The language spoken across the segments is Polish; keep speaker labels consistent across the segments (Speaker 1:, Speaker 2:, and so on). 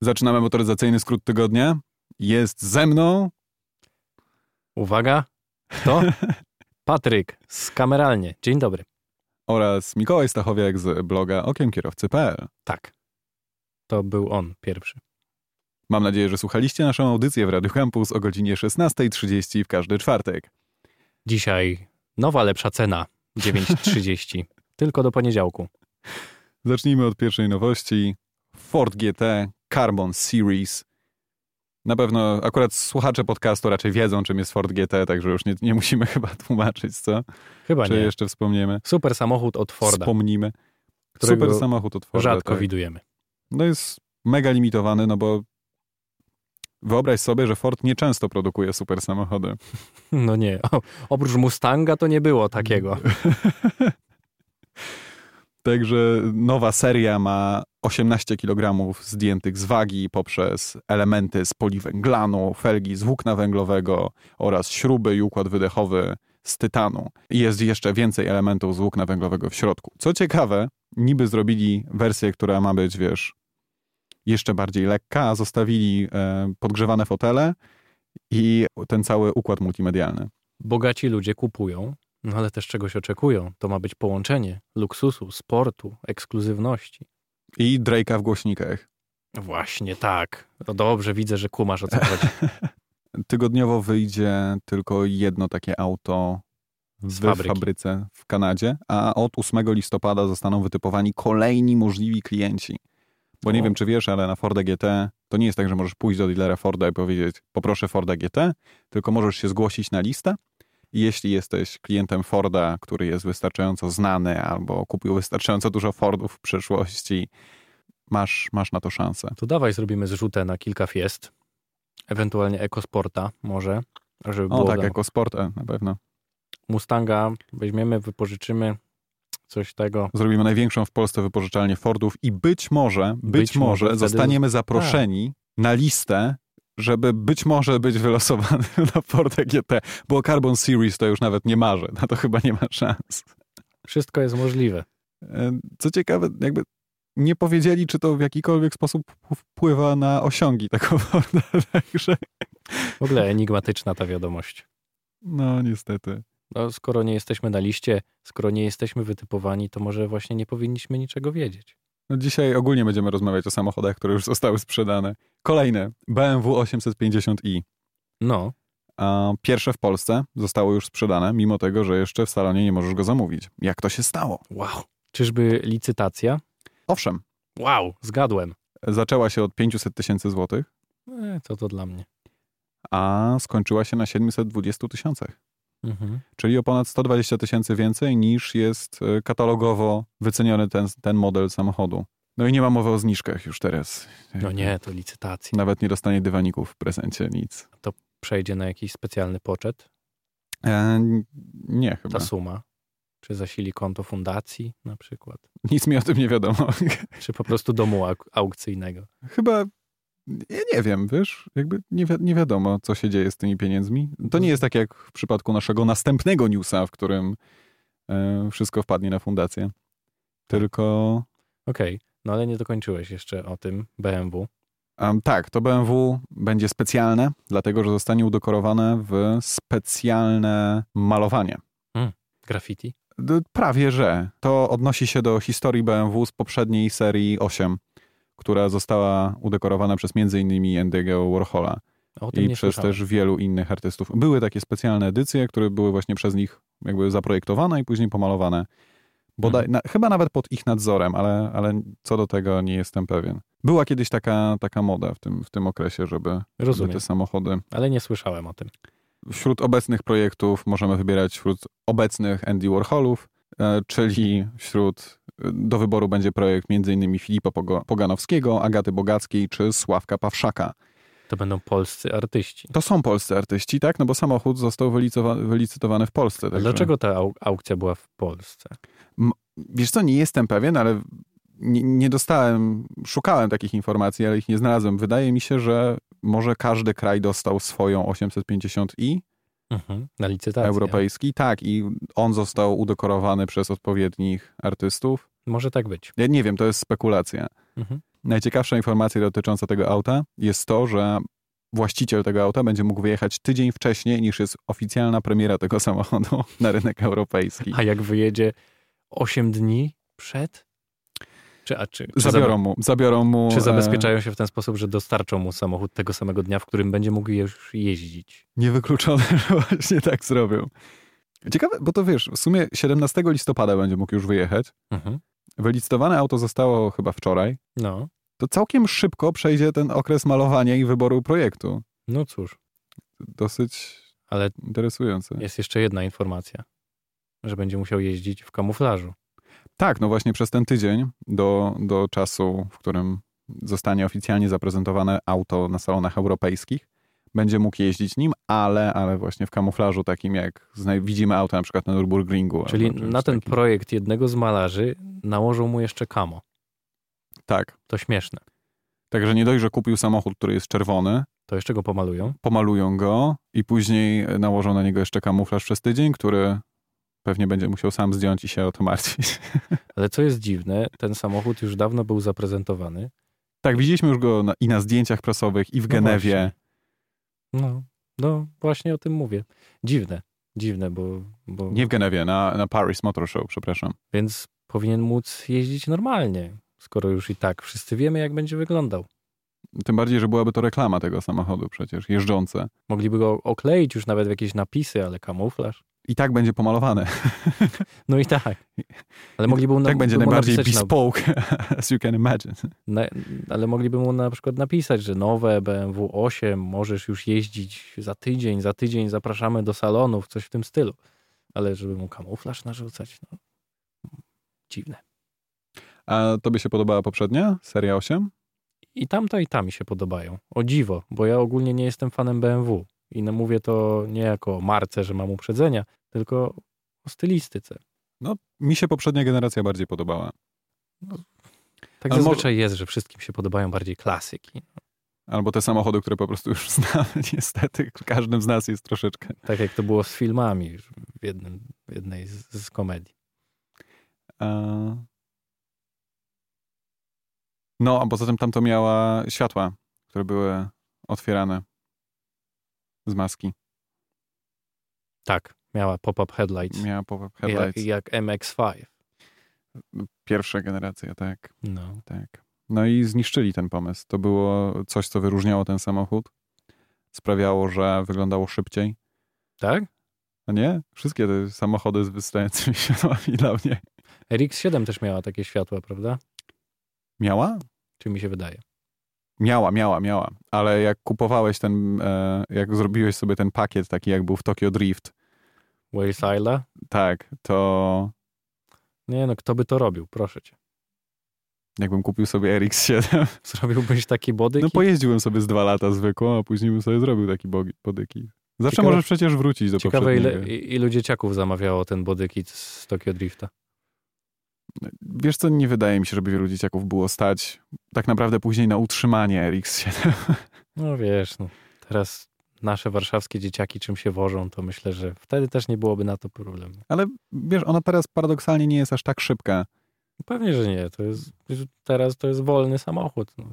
Speaker 1: Zaczynamy motoryzacyjny skrót tygodnia. Jest ze mną.
Speaker 2: Uwaga, kto? Patryk z kameralnie. Dzień dobry.
Speaker 1: Oraz Mikołaj Stachowiak z bloga okiemkierowcy.pl.
Speaker 2: Tak. To był on pierwszy.
Speaker 1: Mam nadzieję, że słuchaliście naszą audycję w Radio Campus o godzinie 16.30 w każdy czwartek.
Speaker 2: Dzisiaj nowa, lepsza cena. 9.30. Tylko do poniedziałku.
Speaker 1: Zacznijmy od pierwszej nowości. Ford GT Carbon Series. Na pewno akurat słuchacze podcastu raczej wiedzą, czym jest Ford GT, także już nie, nie musimy chyba tłumaczyć, co?
Speaker 2: Chyba
Speaker 1: Czy
Speaker 2: nie.
Speaker 1: jeszcze wspomniemy?
Speaker 2: Super samochód od Forda,
Speaker 1: Wspomnimy.
Speaker 2: którego
Speaker 1: Super samochód od Forda.
Speaker 2: rzadko
Speaker 1: tak.
Speaker 2: widujemy.
Speaker 1: No jest mega limitowany, no bo wyobraź sobie, że Ford nieczęsto produkuje super samochody.
Speaker 2: No nie. O, oprócz Mustanga to nie było takiego.
Speaker 1: Także nowa seria ma 18 kg zdjętych z wagi poprzez elementy z poliwęglanu, felgi z włókna węglowego oraz śruby i układ wydechowy z tytanu. I Jest jeszcze więcej elementów z włókna węglowego w środku. Co ciekawe, niby zrobili wersję, która ma być, wiesz, jeszcze bardziej lekka, a zostawili e, podgrzewane fotele i ten cały układ multimedialny.
Speaker 2: Bogaci ludzie kupują, no ale też czegoś oczekują. To ma być połączenie luksusu, sportu, ekskluzywności.
Speaker 1: I Drake'a w głośnikach.
Speaker 2: Właśnie tak. No dobrze, widzę, że kumasz o co chodzi.
Speaker 1: tygodniowo wyjdzie tylko jedno takie auto
Speaker 2: Z
Speaker 1: w
Speaker 2: fabryki.
Speaker 1: fabryce w Kanadzie, a od 8 listopada zostaną wytypowani kolejni możliwi klienci. Bo nie
Speaker 2: O.
Speaker 1: wiem, czy wiesz, ale na Forda GT to nie jest tak, że możesz pójść do dealera Forda i powiedzieć poproszę Forda GT, tylko możesz się zgłosić na listę i jeśli jesteś klientem Forda, który jest wystarczająco znany albo kupił wystarczająco dużo Fordów w przyszłości, masz, masz na to szansę.
Speaker 2: To dawaj zrobimy zrzutę na kilka fiest. Ewentualnie ekosporta może, żeby było
Speaker 1: O tak,
Speaker 2: dla-
Speaker 1: jako sport e, na pewno.
Speaker 2: Mustanga weźmiemy, wypożyczymy coś tego.
Speaker 1: zrobimy największą w Polsce wypożyczalnię Fordów i być może, być,
Speaker 2: Być może
Speaker 1: może,
Speaker 2: wtedy- Tak.
Speaker 1: zostaniemy zaproszeni na listę, żeby być może być wylosowanym na Forda GT, bo Carbon Series to już nawet nie marzę, na to chyba nie ma szans.
Speaker 2: Wszystko jest możliwe.
Speaker 1: E, Co ciekawe, jakby nie powiedzieli, czy to w jakikolwiek sposób wpływa na osiągi tego Forda, także
Speaker 2: W ogóle enigmatyczna ta wiadomość.
Speaker 1: no niestety.
Speaker 2: No, skoro nie jesteśmy na liście, skoro nie jesteśmy wytypowani, to może właśnie nie powinniśmy niczego wiedzieć.
Speaker 1: No dzisiaj ogólnie będziemy rozmawiać o samochodach, które już zostały sprzedane. Kolejne, BMW 850i.
Speaker 2: No,
Speaker 1: A Pierwsze w Polsce zostało już sprzedane, mimo tego, że jeszcze w salonie nie możesz go zamówić. Jak to się stało?
Speaker 2: wow. Czyżby licytacja?
Speaker 1: Owszem,
Speaker 2: Wow, zgadłem.
Speaker 1: zaczęła się od 500 tysięcy złotych,
Speaker 2: E, co to dla mnie?
Speaker 1: a skończyła się na 720 tysiącach,
Speaker 2: Mhm.
Speaker 1: czyli o ponad 120 tysięcy więcej niż jest e, katalogowo wyceniony ten, ten model samochodu. No i nie ma mowy o zniżkach już teraz.
Speaker 2: No nie, to licytacja.
Speaker 1: Nawet nie dostanie dywaników w prezencie, nic.
Speaker 2: Przejdzie na jakiś specjalny poczet
Speaker 1: E, nie, chyba.
Speaker 2: ta suma. Czy zasili konto fundacji na przykład?
Speaker 1: Nic mi o tym nie wiadomo.
Speaker 2: Czy po prostu domu auk- aukcyjnego?
Speaker 1: Chyba, ja nie wiem, wiesz, jakby nie, wi- nie wiadomo, co się dzieje z tymi pieniędzmi. To nie jest tak jak w przypadku naszego następnego newsa, w którym e, wszystko wpadnie na fundację. Tylko,
Speaker 2: Okej, no ale nie dokończyłeś jeszcze o tym BMW.
Speaker 1: em, tak, to BMW będzie specjalne, dlatego że zostanie udekorowane w specjalne malowanie.
Speaker 2: Graffiti?
Speaker 1: D- Prawie, że. To odnosi się do historii BMW z poprzedniej serii 8, która została udekorowana przez m.in. Andy'ego Warhola.
Speaker 2: O tym
Speaker 1: i
Speaker 2: nie
Speaker 1: przez
Speaker 2: słyszałem.
Speaker 1: też wielu innych artystów. Były takie specjalne edycje, które były właśnie przez nich jakby zaprojektowane i później pomalowane.
Speaker 2: Mhm.
Speaker 1: Bodaj, na, chyba nawet pod ich nadzorem, ale, ale co do tego nie jestem pewien. Była kiedyś taka, taka moda w tym, w tym okresie, żeby, żeby
Speaker 2: Rozumiem,
Speaker 1: te samochody.
Speaker 2: ale nie słyszałem o tym.
Speaker 1: Wśród obecnych projektów możemy wybierać wśród obecnych Andy Warholów, e, czyli wśród e, do wyboru będzie projekt m.in. Filipa Pogo- Poganowskiego, Agaty Bogackiej czy Sławka Pawszaka.
Speaker 2: To będą polscy artyści.
Speaker 1: To są polscy artyści, tak? No bo samochód został wylicowa- wylicytowany w Polsce.
Speaker 2: A
Speaker 1: Także.
Speaker 2: Dlaczego ta au- aukcja była w Polsce?
Speaker 1: Wiesz co, nie jestem pewien, ale nie, nie dostałem, szukałem takich informacji, ale ich nie znalazłem. Wydaje mi się, że może każdy kraj dostał swoją 850i
Speaker 2: Mhm. Na licytację.
Speaker 1: europejski. Tak, i on został udekorowany przez odpowiednich artystów.
Speaker 2: Może tak być.
Speaker 1: Ja nie wiem, to jest spekulacja.
Speaker 2: Mhm.
Speaker 1: Najciekawsza informacja dotycząca tego auta jest to, że właściciel tego auta będzie mógł wyjechać tydzień wcześniej niż jest oficjalna premiera tego samochodu na rynek europejski.
Speaker 2: A jak wyjedzie 8 dni przed? Czy, a czy, czy
Speaker 1: Zabiorą mu, zabiorą mu.
Speaker 2: Czy
Speaker 1: e,
Speaker 2: zabezpieczają się w ten sposób, że dostarczą mu samochód tego samego dnia, w którym będzie mógł już jeździć?
Speaker 1: Niewykluczone, że właśnie tak zrobią. Ciekawe, bo to wiesz, w sumie 17 listopada będzie mógł już wyjechać. Wylicytowane auto zostało chyba wczoraj.
Speaker 2: No,
Speaker 1: To całkiem szybko przejdzie ten okres malowania i wyboru projektu.
Speaker 2: no cóż.
Speaker 1: Dosyć
Speaker 2: Ale
Speaker 1: Tak. interesujące.
Speaker 2: jest jeszcze jedna informacja, że będzie musiał jeździć w kamuflażu.
Speaker 1: Tak, no właśnie przez ten tydzień do, do czasu, w którym zostanie oficjalnie zaprezentowane auto na salonach europejskich, będzie mógł jeździć nim, ale, ale właśnie w kamuflażu takim, jak zna- widzimy auto na przykład na Nürburgringu.
Speaker 2: Czyli
Speaker 1: albo czymś
Speaker 2: na ten
Speaker 1: takim.
Speaker 2: projekt jednego z malarzy nałożą mu jeszcze kamo.
Speaker 1: Tak.
Speaker 2: To śmieszne.
Speaker 1: Także nie dość, że kupił samochód, który jest czerwony,
Speaker 2: To jeszcze go pomalują.
Speaker 1: pomalują go i później nałożą na niego jeszcze kamuflaż przez tydzień, który pewnie będzie musiał sam zdjąć i się o to martwić.
Speaker 2: Ale co jest dziwne, ten samochód już dawno był zaprezentowany.
Speaker 1: tak, widzieliśmy już go na, i na zdjęciach prasowych, i w
Speaker 2: No
Speaker 1: Genewie.
Speaker 2: właśnie. No, no właśnie o tym mówię. Dziwne, dziwne, bo, bo
Speaker 1: nie w Genewie, na, na Paris Motor Show, przepraszam.
Speaker 2: więc powinien móc jeździć normalnie, skoro już i tak wszyscy wiemy, jak będzie wyglądał.
Speaker 1: Tym bardziej, że byłaby to reklama tego samochodu przecież, jeżdżące.
Speaker 2: Mogliby go okleić już nawet w jakieś napisy, ale kamuflaż.
Speaker 1: I tak będzie pomalowane.
Speaker 2: No i tak. Ale mogliby mu na-
Speaker 1: tak będzie
Speaker 2: mu
Speaker 1: najbardziej
Speaker 2: napisać na,
Speaker 1: bespoke, as you can imagine.
Speaker 2: na, Ale mogliby mu na przykład napisać, że nowe BMW 8 możesz już jeździć za tydzień, za tydzień zapraszamy do salonów, coś w tym stylu. Ale żeby mu kamuflaż narzucać, no dziwne.
Speaker 1: A tobie się podobała poprzednia, seria 8?
Speaker 2: I tamta i ta mi się podobają. O dziwo, bo ja ogólnie nie jestem fanem BMW. I no mówię to nie jako o marce, że mam uprzedzenia, tylko o stylistyce.
Speaker 1: Mi się poprzednia generacja bardziej podobała.
Speaker 2: Tak
Speaker 1: Ale
Speaker 2: zazwyczaj jest, że wszystkim się podobają bardziej klasyki.
Speaker 1: Albo te samochody, które po prostu już znamy, niestety. W każdym z nas jest troszeczkę.
Speaker 2: Tak jak to było z filmami w, jednym, w jednej z, z komedii.
Speaker 1: A... No, a poza tym tamto miała światła, które były otwierane z maski.
Speaker 2: Tak, miała pop-up headlights.
Speaker 1: Miała pop-up headlights.
Speaker 2: Jak, jak MX-5.
Speaker 1: Pierwsza generacja, tak.
Speaker 2: No.
Speaker 1: Tak. No i zniszczyli ten pomysł. To było coś, co wyróżniało ten samochód. Sprawiało, że wyglądało szybciej.
Speaker 2: Tak?
Speaker 1: A nie? Wszystkie te samochody z wystającymi światłami dla mnie.
Speaker 2: RX-7 też miała takie światła, prawda?
Speaker 1: Miała?
Speaker 2: Czy mi się wydaje?
Speaker 1: Miała, miała, miała. Ale jak kupowałeś ten, e, jak zrobiłeś sobie ten pakiet taki, jak był w Tokyo Drift,
Speaker 2: Wales Isla?
Speaker 1: tak, to
Speaker 2: Nie no, kto by to robił? Proszę cię.
Speaker 1: jakbym kupił sobie RX-7,
Speaker 2: Zrobiłbyś taki bodyki?
Speaker 1: no pojeździłbym sobie z dwa lata zwykłą, a później bym sobie zrobił taki bogi, bodyki. Zawsze
Speaker 2: Ciekawe-
Speaker 1: możesz przecież wrócić do
Speaker 2: Ciekawe,
Speaker 1: poprzedniego.
Speaker 2: ile, i- ilu dzieciaków zamawiało ten bodykit z Tokio Drifta.
Speaker 1: Wiesz co, nie wydaje mi się, żeby wielu dzieciaków było stać tak naprawdę później na utrzymanie RX-7.
Speaker 2: No wiesz, no, teraz nasze warszawskie dzieciaki czym się wożą, to myślę, że wtedy też nie byłoby na to problemu.
Speaker 1: Ale wiesz, ona teraz paradoksalnie nie jest aż tak szybka.
Speaker 2: Pewnie, że nie. To jest, teraz to jest wolny samochód. No.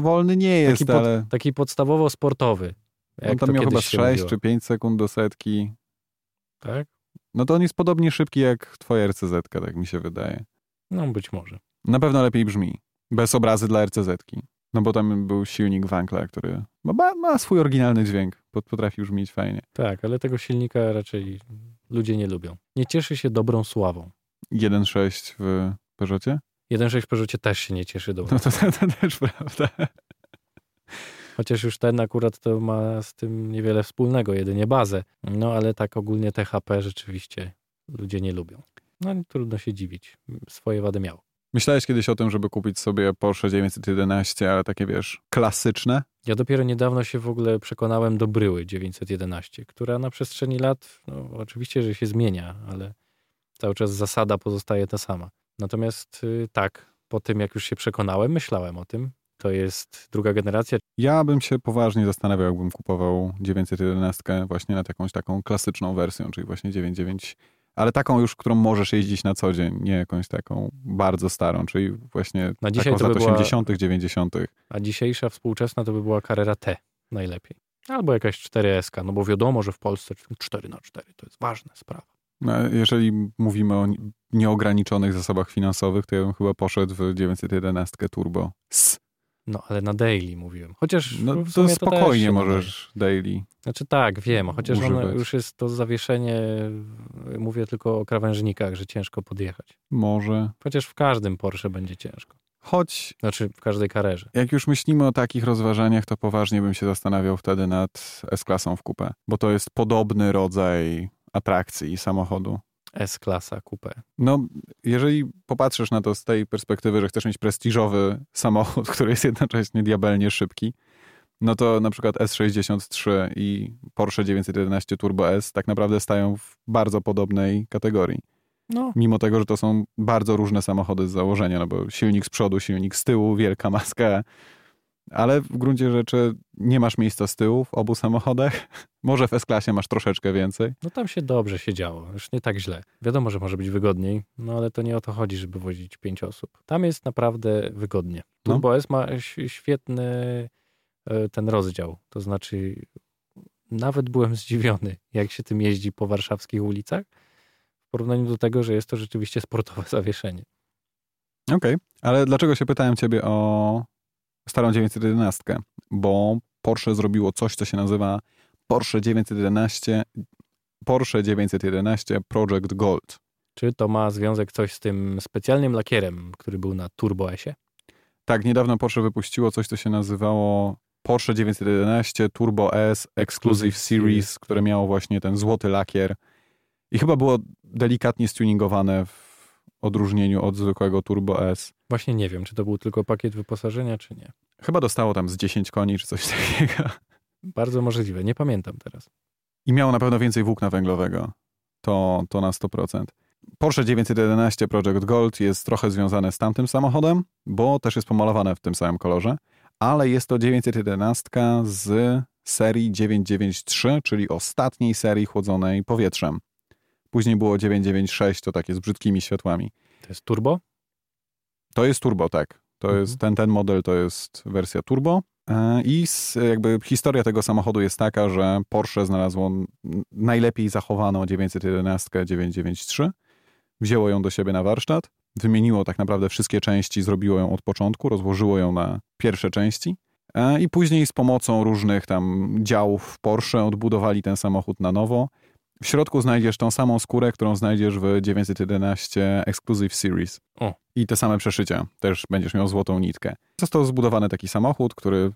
Speaker 1: Wolny nie jest,
Speaker 2: Taki, pod,
Speaker 1: ale
Speaker 2: taki podstawowo sportowy. Jak
Speaker 1: on
Speaker 2: to
Speaker 1: tam No miał chyba
Speaker 2: kiedyś się
Speaker 1: 6
Speaker 2: mówiło.
Speaker 1: czy 5 sekund do setki.
Speaker 2: Tak?
Speaker 1: No to on jest podobnie szybki jak twoja RCZ, tak mi się wydaje.
Speaker 2: No być może.
Speaker 1: Na pewno lepiej brzmi. Bez obrazy dla RCZ. No bo tam był silnik Wankla, który ma- ma, ma swój oryginalny dźwięk. Pot- Potrafi brzmieć fajnie.
Speaker 2: Tak, ale tego silnika raczej ludzie nie lubią. Nie cieszy się dobrą sławą.
Speaker 1: 1.6 w Peugeotie?
Speaker 2: 1.6 Peugeotie też się nie cieszy dobrą
Speaker 1: No to, to, to też prawda.
Speaker 2: Chociaż już ten akurat to ma z tym niewiele wspólnego, jedynie bazę. No ale tak ogólnie THP rzeczywiście ludzie nie lubią. No i trudno się dziwić. Swoje wady miał.
Speaker 1: Myślałeś kiedyś o tym, żeby kupić sobie Porsche 911, ale takie wiesz, klasyczne?
Speaker 2: Ja dopiero niedawno się w ogóle przekonałem do bryły 911, która na przestrzeni lat, no oczywiście, że się zmienia, ale cały czas zasada pozostaje ta sama. Natomiast y, tak, po tym jak już się przekonałem, myślałem o tym. To jest druga generacja,
Speaker 1: Ja bym się poważnie zastanawiał, jakbym kupował 911 właśnie nad jakąś taką klasyczną wersją, czyli właśnie 99 ale taką już, którą możesz jeździć na co dzień, nie jakąś taką bardzo starą, czyli właśnie
Speaker 2: Na dzisiaj
Speaker 1: taką z
Speaker 2: to
Speaker 1: lat
Speaker 2: by była-
Speaker 1: 80., 90.
Speaker 2: A dzisiejsza współczesna to by była Carrera T najlepiej. Albo jakaś 4SK, no bo wiadomo, że w Polsce 4 na 4 to jest ważna sprawa.
Speaker 1: No, jeżeli mówimy o ni- nieograniczonych zasobach finansowych, to ja bym chyba poszedł w 911 Turbo. S.
Speaker 2: No ale na daily mówiłem. Chociaż
Speaker 1: No
Speaker 2: w
Speaker 1: to
Speaker 2: sumie to też
Speaker 1: spokojnie
Speaker 2: się nadaje.
Speaker 1: możesz daily.
Speaker 2: Znaczy tak, wiem, chociaż ono
Speaker 1: używać.
Speaker 2: już jest to zawieszenie, mówię tylko o krawężnikach, że ciężko podjechać.
Speaker 1: Może.
Speaker 2: Chociaż w każdym Porsche będzie ciężko.
Speaker 1: Choć
Speaker 2: Znaczy w każdej karerze.
Speaker 1: jak już myślimy o takich rozważaniach, to poważnie bym się zastanawiał wtedy nad S-klasą w kupę, bo to jest podobny rodzaj atrakcji i samochodu.
Speaker 2: S-klasa coupé.
Speaker 1: No, jeżeli popatrzysz na to z tej perspektywy, że chcesz mieć prestiżowy samochód, który jest jednocześnie diabelnie szybki, no to na przykład S63 i Porsche 911 Turbo S tak naprawdę stają w bardzo podobnej kategorii.
Speaker 2: No,
Speaker 1: Mimo tego, że to są bardzo różne samochody z założenia, no bo silnik z przodu, silnik z tyłu, wielka maska, ale w gruncie rzeczy nie masz miejsca z tyłu w obu samochodach. Może w S-klasie masz troszeczkę więcej.
Speaker 2: no tam się dobrze siedziało, już nie tak źle. Wiadomo, że może być wygodniej, no ale to nie o to chodzi, żeby wozić pięć osób. Tam jest naprawdę wygodnie.
Speaker 1: No.
Speaker 2: Turbo S ma ś- świetny e, ten rozdział, to znaczy nawet byłem zdziwiony, jak się tym jeździ po warszawskich ulicach, w porównaniu do tego, że jest to rzeczywiście sportowe zawieszenie.
Speaker 1: Okej, ale dlaczego się pytałem ciebie o starą 911? Bo Porsche zrobiło coś, co się nazywa Porsche 911 Porsche 911 Project Gold.
Speaker 2: Czy to ma związek coś z tym specjalnym lakierem, który był na Turbo S-ie?
Speaker 1: Tak, niedawno Porsche wypuściło coś, co się nazywało Porsche 911 Turbo S Exclusive Series, które miało właśnie ten złoty lakier i chyba było delikatnie stuningowane w odróżnieniu od zwykłego Turbo S.
Speaker 2: Właśnie nie wiem, czy to był tylko pakiet wyposażenia, czy nie.
Speaker 1: Chyba dostało tam z 10 koni czy coś takiego.
Speaker 2: Bardzo możliwe, nie pamiętam teraz.
Speaker 1: i miało na pewno więcej włókna węglowego. To, to na 100%. Porsche 911 Project Gold jest trochę związane z tamtym samochodem, bo też jest pomalowane w tym samym kolorze, ale jest to 911 z serii 993, czyli ostatniej serii chłodzonej powietrzem. Później było 996, to takie z brzydkimi światłami.
Speaker 2: To jest turbo?
Speaker 1: To jest turbo, tak. To
Speaker 2: Mhm.
Speaker 1: jest ten, ten model to jest wersja turbo. E, I s- jakby historia tego samochodu jest taka, że Porsche znalazło n- najlepiej zachowaną 911 993. Wzięło ją do siebie na warsztat, wymieniło tak naprawdę wszystkie części, zrobiło ją od początku, rozłożyło ją na pierwsze części. E, I później z pomocą różnych tam działów Porsche odbudowali ten samochód na nowo. W środku znajdziesz tą samą skórę, którą znajdziesz w 911 Exclusive Series i te same przeszycia. Też będziesz miał złotą nitkę. Został zbudowany taki samochód, który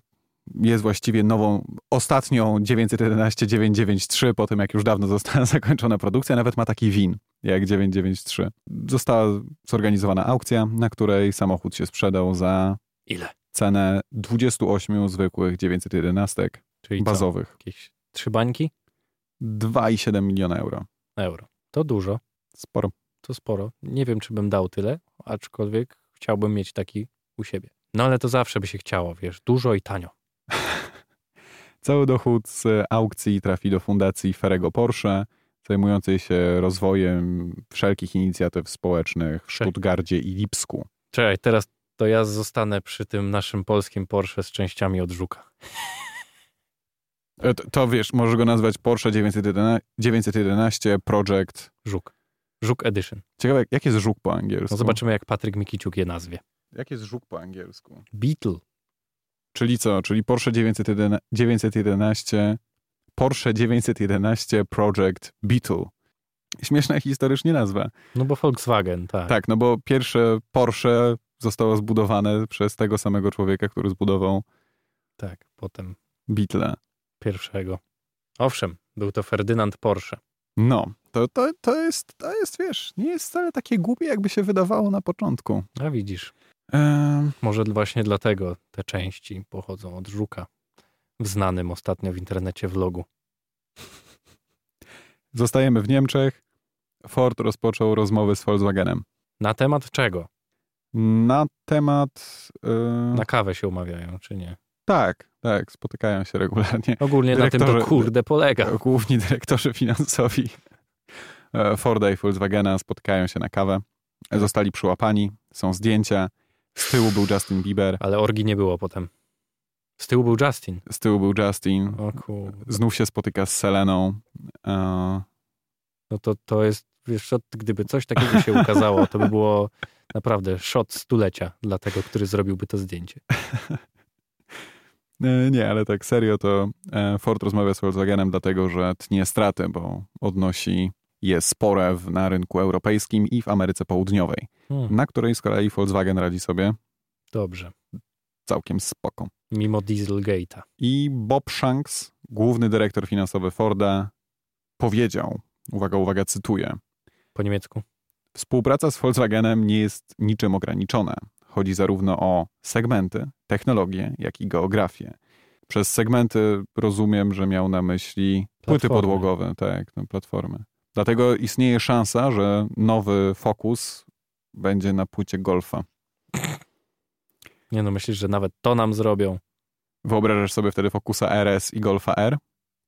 Speaker 1: jest właściwie nową, ostatnią 911-993, po tym jak już dawno została zakończona produkcja, nawet ma taki win jak 993. Została zorganizowana aukcja, na której samochód się sprzedał za
Speaker 2: Ile?
Speaker 1: cenę 28 zwykłych 911
Speaker 2: Czyli co?
Speaker 1: bazowych.
Speaker 2: Jakieś trzy bańki?
Speaker 1: 2,7 miliona euro.
Speaker 2: Euro. To dużo,
Speaker 1: Sporo.
Speaker 2: to sporo. Nie wiem, czy bym dał tyle, aczkolwiek chciałbym mieć taki u siebie. No ale to zawsze by się chciało, wiesz, dużo i tanio.
Speaker 1: Cały dochód z aukcji trafi do fundacji Ferrego Porsche, zajmującej się rozwojem wszelkich inicjatyw społecznych w
Speaker 2: Wszel-
Speaker 1: Stuttgardzie i Lipsku.
Speaker 2: Czekaj, teraz to ja zostanę przy tym naszym polskim Porsche z częściami od żuka.
Speaker 1: E, To, to wiesz, możesz go nazwać Porsche 911, 911 Project.
Speaker 2: Żuk. Żuk Edition.
Speaker 1: Ciekawe, jak- jak jest żuk po angielsku?
Speaker 2: No zobaczymy, jak Patryk Mikiciuk je nazwie.
Speaker 1: Jak jest żuk po angielsku?
Speaker 2: Beetle.
Speaker 1: Czyli co? Czyli Porsche 911, 911 Porsche 911 Project Beetle. Śmieszna historycznie nazwa.
Speaker 2: No bo Volkswagen, tak.
Speaker 1: Tak, no bo pierwsze Porsche zostało zbudowane przez tego samego człowieka, który zbudował
Speaker 2: tak. Potem
Speaker 1: Beatle.
Speaker 2: pierwszego. Owszem, był to Ferdynand Porsche.
Speaker 1: No, to, to, to, jest, to jest, wiesz, nie jest wcale takie głupie, jakby się wydawało na początku.
Speaker 2: A widzisz,
Speaker 1: Ehm,
Speaker 2: Może właśnie dlatego te części pochodzą od żuka, w znanym ostatnio w internecie vlogu.
Speaker 1: zostajemy w Niemczech. Ford rozpoczął rozmowy z Volkswagenem
Speaker 2: Na temat czego?
Speaker 1: na temat... e,
Speaker 2: Na kawę się umawiają, czy nie?
Speaker 1: Tak, tak, spotykają się regularnie. y,
Speaker 2: Ogólnie na tym to
Speaker 1: Dyrektorze-
Speaker 2: kurde polega.
Speaker 1: Główni dyrektorzy finansowi e, Forda i Volkswagena spotkają się na kawę. Zostali przyłapani, są zdjęcia. Z tyłu był Justin Bieber,
Speaker 2: Ale orgi nie było potem. Z tyłu był Justin.
Speaker 1: z tyłu był Justin.
Speaker 2: O kurde.
Speaker 1: Znów się spotyka z Seleną. E,
Speaker 2: No to, to jest, wiesz, co, gdyby coś takiego się ukazało, to by było naprawdę shot stulecia dla tego, który zrobiłby to zdjęcie.
Speaker 1: E, Nie, ale tak serio to e, Ford rozmawia z Volkswagenem dlatego, że tnie straty, bo odnosi je spore w, na rynku europejskim i w Ameryce Południowej,
Speaker 2: Hmm,
Speaker 1: na której z kolei Volkswagen radzi sobie
Speaker 2: dobrze.
Speaker 1: całkiem spoko.
Speaker 2: Mimo Dieselgate'a.
Speaker 1: I Bob Shanks, główny dyrektor finansowy Forda, powiedział, uwaga, uwaga, cytuję,
Speaker 2: Po niemiecku.
Speaker 1: Współpraca z Volkswagenem nie jest niczym ograniczona. Chodzi zarówno o segmenty, technologie, jak i geografię. Przez segmenty rozumiem, że miał na myśli płyty
Speaker 2: Platformy.
Speaker 1: podłogowe, tak, no, platformy. Dlatego istnieje szansa, że nowy Focus będzie na płycie Golfa.
Speaker 2: Nie no, myślisz, że nawet to nam zrobią?
Speaker 1: Wyobrażasz sobie wtedy Focusa RS i Golfa R?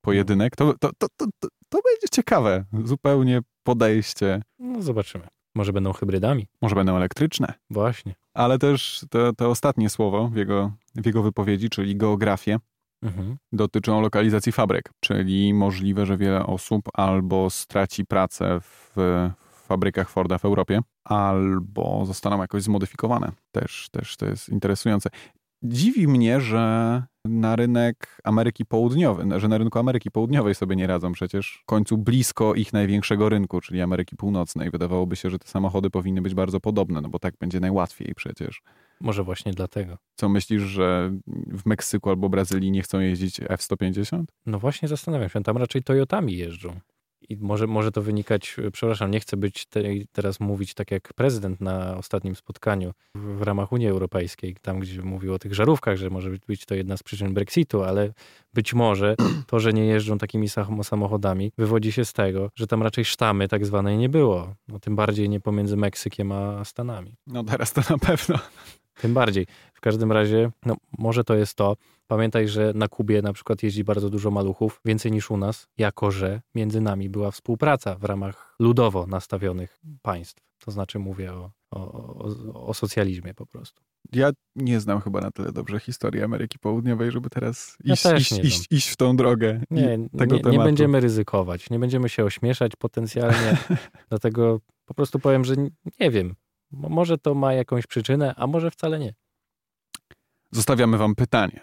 Speaker 1: Pojedynek? To, to, to, to, to, to będzie ciekawe. Zupełnie podejście.
Speaker 2: No zobaczymy. Może będą hybrydami?
Speaker 1: Może będą elektryczne?
Speaker 2: Właśnie.
Speaker 1: Ale też te, te ostatnie słowo w jego, w jego wypowiedzi, czyli geografię,
Speaker 2: Mhm.
Speaker 1: dotyczą lokalizacji fabryk, czyli możliwe, że wiele osób albo straci pracę w, w fabrykach Forda w Europie, albo zostaną jakoś zmodyfikowane. Też, też to jest interesujące. Dziwi mnie, że na rynek Ameryki Południowej, że na rynku Ameryki Południowej sobie nie radzą przecież w końcu blisko ich największego rynku, czyli Ameryki Północnej. Wydawałoby się, że te samochody powinny być bardzo podobne, no bo tak będzie najłatwiej przecież.
Speaker 2: Może właśnie dlatego.
Speaker 1: Co myślisz, że w Meksyku albo Brazylii nie chcą jeździć F-150?
Speaker 2: No właśnie zastanawiam się, tam raczej Toyotami jeżdżą. I może, może to wynikać, e, przepraszam, nie chcę być te, teraz mówić tak jak prezydent na ostatnim spotkaniu w, w ramach Unii Europejskiej, tam gdzie mówił o tych żarówkach, że może być, być to jedna z przyczyn Brexitu, ale być może to, że nie jeżdżą takimi sam- samochodami, wywodzi się z tego, że tam raczej sztamy tak zwanej nie było. No, tym bardziej nie pomiędzy Meksykiem a Stanami.
Speaker 1: No teraz to na pewno.
Speaker 2: Tym bardziej. W każdym razie, no może to jest to. Pamiętaj, że na Kubie na przykład jeździ bardzo dużo maluchów, więcej niż u nas, jako że między nami była współpraca w ramach ludowo nastawionych państw. To znaczy mówię o, o, o, o socjalizmie po prostu.
Speaker 1: Ja nie znam chyba na tyle dobrze historii Ameryki Południowej, żeby teraz
Speaker 2: Ja
Speaker 1: iść,
Speaker 2: też
Speaker 1: iść,
Speaker 2: nie
Speaker 1: iść, iść w tą drogę. I
Speaker 2: Nie,
Speaker 1: tego
Speaker 2: nie, nie
Speaker 1: tematu.
Speaker 2: będziemy ryzykować, nie będziemy się ośmieszać potencjalnie, dlatego po prostu powiem, że nie wiem. Mo- Może to ma jakąś przyczynę, a może wcale nie.
Speaker 1: Zostawiamy wam pytanie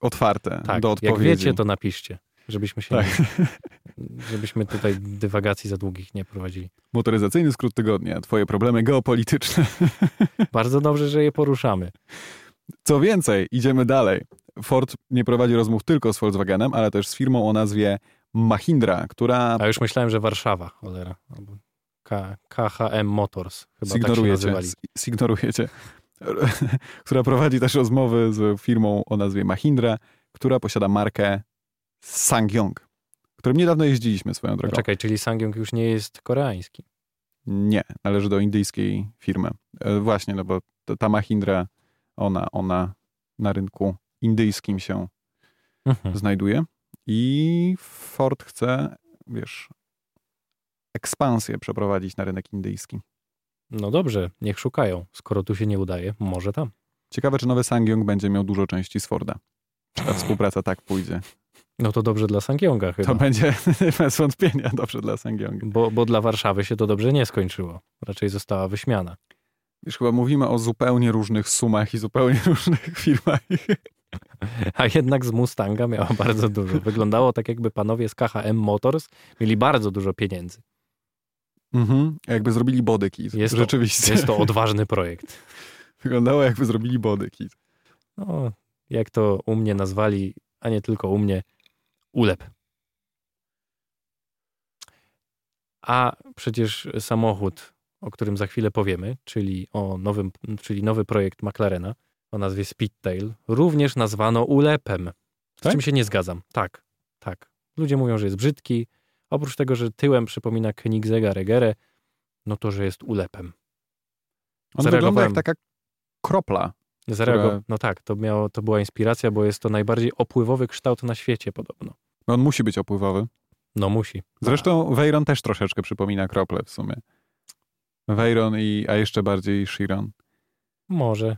Speaker 1: otwarte
Speaker 2: Tak,
Speaker 1: do
Speaker 2: jak
Speaker 1: odpowiedzi.
Speaker 2: wiecie, to napiszcie, żebyśmy się
Speaker 1: Tak.
Speaker 2: nie, żebyśmy tutaj dywagacji za długich nie prowadzili.
Speaker 1: Motoryzacyjny skrót tygodnia. Twoje problemy geopolityczne.
Speaker 2: Bardzo dobrze, że je poruszamy.
Speaker 1: Co więcej, idziemy dalej. Ford nie prowadzi rozmów tylko z Volkswagenem, ale też z firmą o nazwie Mahindra, która
Speaker 2: A już myślałem, że Warszawa, cholera. Albo K- KHM Motors, chyba tak się
Speaker 1: Signorujecie.
Speaker 2: nazywali.
Speaker 1: si- Signorujecie. która prowadzi też rozmowy z firmą o nazwie Mahindra, która posiada markę Sangyong, którym niedawno jeździliśmy swoją drogą.
Speaker 2: Czekaj, czyli Sangyong już nie jest koreański.
Speaker 1: Nie, należy do indyjskiej firmy. E, Właśnie, no bo t- ta Mahindra, ona, ona na rynku indyjskim się
Speaker 2: Mhm.
Speaker 1: znajduje i Ford chce, wiesz, ekspansję przeprowadzić na rynek indyjski.
Speaker 2: No dobrze, niech szukają. Skoro tu się nie udaje, może tam.
Speaker 1: Ciekawe, czy nowy Sangyong będzie miał dużo części z Forda. Czy ta współpraca tak pójdzie.
Speaker 2: No to dobrze dla Sangyonga
Speaker 1: To
Speaker 2: chyba.
Speaker 1: będzie bez wątpienia dobrze dla Sangyonga.
Speaker 2: Bo, bo dla Warszawy się to dobrze nie skończyło. Raczej została wyśmiana.
Speaker 1: Już chyba mówimy o zupełnie różnych sumach i zupełnie różnych firmach.
Speaker 2: A jednak z Mustanga miała bardzo dużo. Wyglądało tak, jakby panowie z KHM Motors mieli bardzo dużo pieniędzy.
Speaker 1: Mhm. Jakby zrobili body kit.
Speaker 2: Jest to-
Speaker 1: Rzeczywiście.
Speaker 2: Jest to odważny projekt.
Speaker 1: Wyglądało jakby zrobili body kit.
Speaker 2: No, jak to u mnie nazwali, a nie tylko u mnie, ulep. A przecież samochód, o którym za chwilę powiemy, czyli, o nowym, czyli nowy projekt McLarena o nazwie Speedtail, również nazwano ulepem. Z
Speaker 1: Tak?
Speaker 2: czym się nie zgadzam. Tak, tak. Ludzie mówią, że jest brzydki. Oprócz tego, że tyłem przypomina Koenigsegga Regere, no to, że jest ulepem.
Speaker 1: On wygląda jak
Speaker 2: Zareagowałem.
Speaker 1: taka kropla.
Speaker 2: Zareago...
Speaker 1: Które-
Speaker 2: No tak, to, miało, to była inspiracja, bo jest to najbardziej opływowy kształt na świecie podobno.
Speaker 1: No on musi być opływowy.
Speaker 2: No musi. Tak.
Speaker 1: Zresztą Veyron też troszeczkę przypomina krople w sumie. Veyron i, a jeszcze bardziej Chiron.
Speaker 2: Może.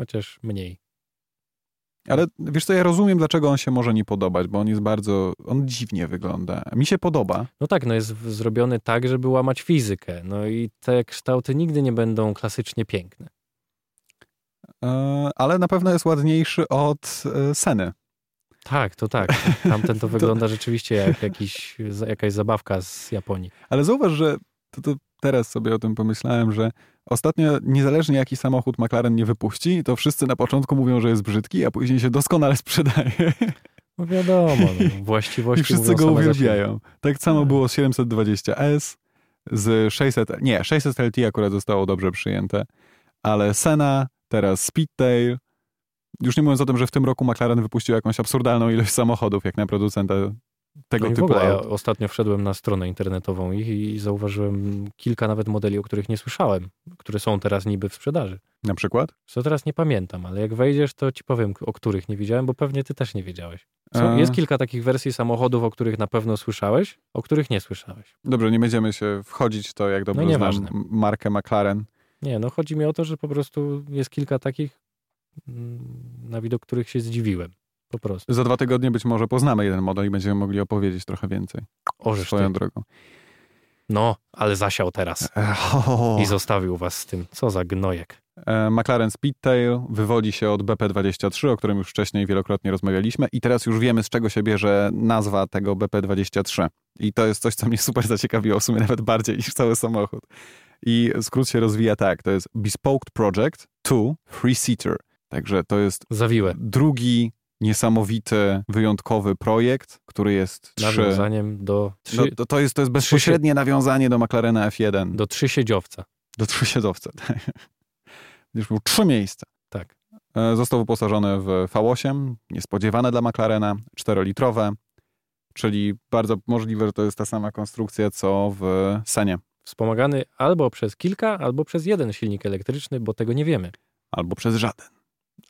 Speaker 2: Chociaż mniej.
Speaker 1: Ale wiesz co, ja rozumiem, dlaczego on się może nie podobać, bo on jest bardzo, on dziwnie wygląda. Mi się podoba.
Speaker 2: No tak, no jest w- zrobiony tak, żeby łamać fizykę. No i te kształty nigdy nie będą klasycznie piękne.
Speaker 1: E, ale na pewno jest ładniejszy od e, Seny.
Speaker 2: Tak, to tak. Tamten to wygląda rzeczywiście jak jakiś, za- jakaś zabawka z Japonii.
Speaker 1: Ale zauważ, że to, to teraz sobie o tym pomyślałem, że ostatnio niezależnie jaki samochód McLaren nie wypuści, to wszyscy na początku mówią, że jest brzydki, a później się doskonale sprzedaje
Speaker 2: No wiadomo, no,
Speaker 1: i
Speaker 2: właściwości
Speaker 1: wszyscy
Speaker 2: mówią
Speaker 1: go
Speaker 2: same za siebie.
Speaker 1: uwielbiają. Tak samo
Speaker 2: Tak.
Speaker 1: było z 720S, z 600, nie, 600 LT akurat zostało dobrze przyjęte, ale Sena, teraz Speedtail. Już nie mówiąc o tym, że w tym roku McLaren wypuścił jakąś absurdalną ilość samochodów, jak na producenta tego
Speaker 2: No i w
Speaker 1: typu
Speaker 2: ogóle ja
Speaker 1: aut.
Speaker 2: ostatnio wszedłem na stronę internetową ich i zauważyłem kilka nawet modeli, o których nie słyszałem, które są teraz niby w sprzedaży.
Speaker 1: Na przykład?
Speaker 2: Co teraz nie pamiętam, ale jak wejdziesz, to ci powiem, o których nie widziałem, bo pewnie ty też nie wiedziałeś. Są,
Speaker 1: E,
Speaker 2: jest kilka takich wersji samochodów, o których na pewno słyszałeś, o których nie słyszałeś.
Speaker 1: Dobrze, nie będziemy się wchodzić w to, jak dobrze znam
Speaker 2: nieważne.
Speaker 1: markę McLaren.
Speaker 2: Nie, no chodzi mi o to, że po prostu jest kilka takich, mm, na widok których się zdziwiłem. Po prostu.
Speaker 1: Za dwa tygodnie być może poznamy jeden model i będziemy mogli opowiedzieć trochę więcej.
Speaker 2: Orzesz ty.
Speaker 1: swoją drogą.
Speaker 2: No, ale zasiał teraz
Speaker 1: E, ho, ho, ho.
Speaker 2: i zostawił was z tym. Co za gnojek.
Speaker 1: E, McLaren Speedtail wywodzi się od BP23, o którym już wcześniej wielokrotnie rozmawialiśmy i teraz już wiemy, z czego się bierze nazwa tego BP23. I to jest coś, co mnie super zaciekawiło, w sumie nawet bardziej niż cały samochód. I skrót się rozwija tak, to jest Bespoke Project to Free Seater. Także to jest
Speaker 2: Zawiłem.
Speaker 1: drugi niesamowity, wyjątkowy projekt, który jest trzy...
Speaker 2: Nawiązaniem do, trzy,
Speaker 1: No, to, to, jest, to jest bezpośrednie nawiązanie do McLarena F1, do,
Speaker 2: do trzysiedzowca.
Speaker 1: do trzysiedzowca. tak. Będziesz miał trzy miejsca.
Speaker 2: Tak.
Speaker 1: E, Został wyposażony w V8, niespodziewane dla McLarena, 4-litrowe, czyli bardzo możliwe, że to jest ta sama konstrukcja, co w Senie,
Speaker 2: Wspomagany albo przez kilka, albo przez jeden silnik elektryczny, bo tego nie wiemy.
Speaker 1: albo przez żaden.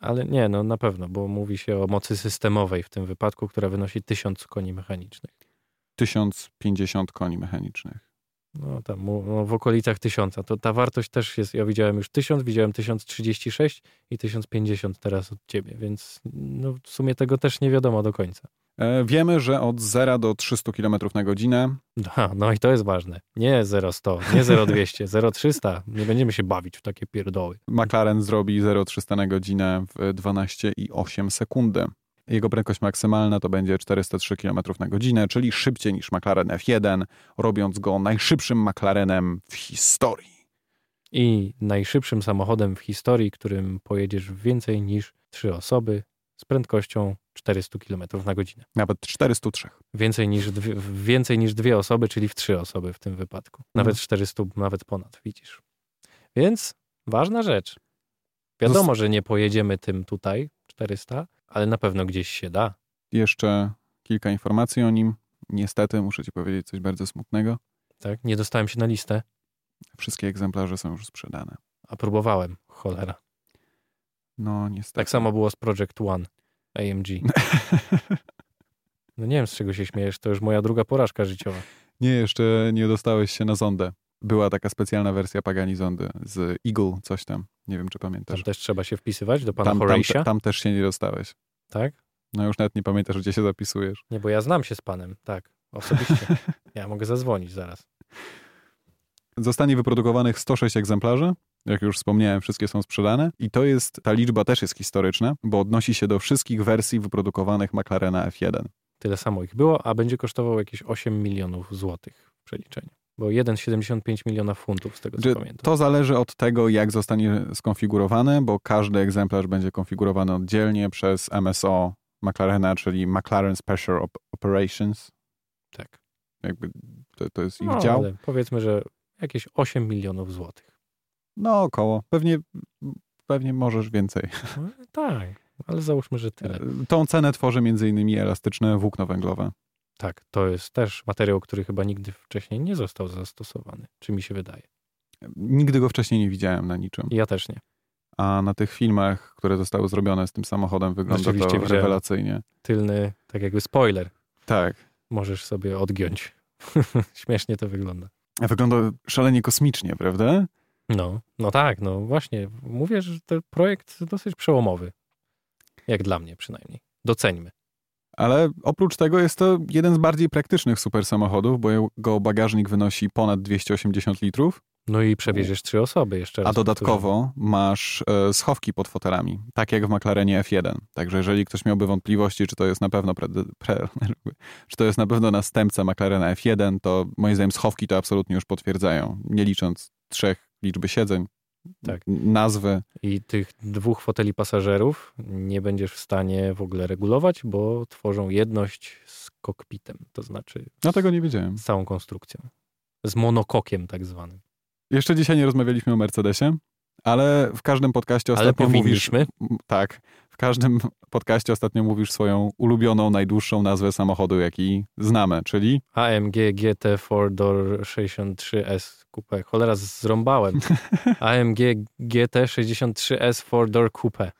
Speaker 2: Ale nie, no na pewno, bo mówi się o mocy systemowej w tym wypadku, która wynosi 1000 koni mechanicznych.
Speaker 1: 1050 koni mechanicznych.
Speaker 2: No tam mu- no, w okolicach 1000. To ta wartość też jest, ja widziałem już 1000, widziałem 1036 i 1050 teraz od ciebie, więc no, w sumie tego też nie wiadomo do końca.
Speaker 1: E, Wiemy, że od 0 do 300 km na godzinę
Speaker 2: No, no i to jest ważne. Nie 0100, nie 0200, 0300. Nie będziemy się bawić w takie pierdoły.
Speaker 1: McLaren zrobi 0,300 na godzinę w 12,8 sekundy. Jego prędkość maksymalna to będzie 403 km na godzinę, czyli szybciej niż McLaren F1, robiąc go najszybszym McLarenem w historii.
Speaker 2: i najszybszym samochodem w historii, którym pojedziesz w więcej niż 3 osoby z prędkością 400 km na godzinę.
Speaker 1: Nawet 403.
Speaker 2: Więcej niż, dwie, w- więcej niż dwie osoby, czyli w trzy osoby w tym wypadku. Nawet
Speaker 1: Mhm.
Speaker 2: 400, nawet ponad, widzisz. Więc ważna rzecz. Wiadomo, że nie pojedziemy tym tutaj, 400, ale na pewno gdzieś się da.
Speaker 1: Jeszcze kilka informacji o nim. Niestety, muszę ci powiedzieć coś bardzo smutnego.
Speaker 2: Tak? Nie dostałem się na listę,
Speaker 1: Wszystkie egzemplarze są już sprzedane.
Speaker 2: a próbowałem. Cholera.
Speaker 1: Tak, No, niestety.
Speaker 2: Tak samo było z Project One AMG. No nie wiem, z czego się śmiejesz, to już moja druga porażka życiowa.
Speaker 1: Nie, jeszcze nie dostałeś się na zondę. Była taka specjalna wersja Pagani zondy z Eagle, coś tam. Nie wiem, czy pamiętasz.
Speaker 2: Tam też trzeba się wpisywać do pana
Speaker 1: tam, tam,
Speaker 2: Horace'a,
Speaker 1: tam też się nie dostałeś.
Speaker 2: tak?
Speaker 1: No już nawet nie pamiętasz, gdzie się zapisujesz.
Speaker 2: Nie, bo ja znam się z panem, tak, osobiście. Ja mogę zadzwonić zaraz.
Speaker 1: Zostanie wyprodukowanych 106 egzemplarzy. Jak już wspomniałem, wszystkie są sprzedane. I to jest, ta liczba też jest historyczna, bo odnosi się do wszystkich wersji wyprodukowanych McLarena F1.
Speaker 2: Tyle samo ich było, a będzie kosztował jakieś 8 milionów złotych w przeliczeniu. Bo 1,75 miliona funtów, z tego co
Speaker 1: Że
Speaker 2: pamiętam.
Speaker 1: To zależy od tego, jak zostanie skonfigurowany, bo każdy egzemplarz będzie konfigurowany oddzielnie przez MSO McLarena, czyli McLaren Special Op- Operations.
Speaker 2: Tak.
Speaker 1: Jakby to, to jest ich
Speaker 2: No,
Speaker 1: dział.
Speaker 2: ale powiedzmy, że jakieś 8 milionów złotych.
Speaker 1: No około. Pewnie, pewnie możesz więcej.
Speaker 2: No, tak, ale załóżmy, że
Speaker 1: E.
Speaker 2: tyle.
Speaker 1: Tą cenę tworzy m.in. elastyczne włókno węglowe.
Speaker 2: Tak, to jest też materiał, który chyba nigdy wcześniej nie został zastosowany, czy mi się wydaje.
Speaker 1: Nigdy go wcześniej nie widziałem na niczym.
Speaker 2: Ja też nie.
Speaker 1: A na tych filmach, które zostały zrobione z tym samochodem, wygląda
Speaker 2: Rzeczywiście
Speaker 1: to
Speaker 2: widziałem.
Speaker 1: rewelacyjnie.
Speaker 2: Tylny, tak jakby spoiler,
Speaker 1: Tak.
Speaker 2: możesz sobie odgiąć. Śmiesznie to wygląda.
Speaker 1: Wygląda szalenie kosmicznie, prawda?
Speaker 2: No, no tak, no właśnie. Mówię, że ten projekt dosyć przełomowy. Jak dla mnie przynajmniej. Doceńmy.
Speaker 1: Ale oprócz tego jest to jeden z bardziej praktycznych super samochodów, bo jego bagażnik wynosi ponad 280 litrów,
Speaker 2: No i przewieziesz trzy osoby jeszcze raz.
Speaker 1: a dodatkowo masz e, schowki pod fotelami, tak jak w McLarenie F1. Także jeżeli ktoś miałby wątpliwości, czy to jest na pewno pre, pre, czy to jest na pewno następca McLarena F1, to moim zdaniem schowki to absolutnie już potwierdzają, nie licząc trzech liczby siedzeń,
Speaker 2: Tak.
Speaker 1: nazwy.
Speaker 2: I tych dwóch foteli pasażerów nie będziesz w stanie w ogóle regulować, bo tworzą jedność z kokpitem, to znaczy
Speaker 1: No tego nie wiedziałem.
Speaker 2: z całą konstrukcją. Z monokokiem tak zwanym.
Speaker 1: Jeszcze dzisiaj nie rozmawialiśmy o Mercedesie, ale w każdym podcaście
Speaker 2: Ale
Speaker 1: ostatnio mówisz...
Speaker 2: powinniśmy.
Speaker 1: M- Tak. W każdym podcaście ostatnio mówisz swoją ulubioną, najdłuższą nazwę samochodu, jaki znamy, czyli
Speaker 2: AMG GT 4-door 63S Coupe. Cholera, zrąbałem. AMG GT 63S 4-door Coupe.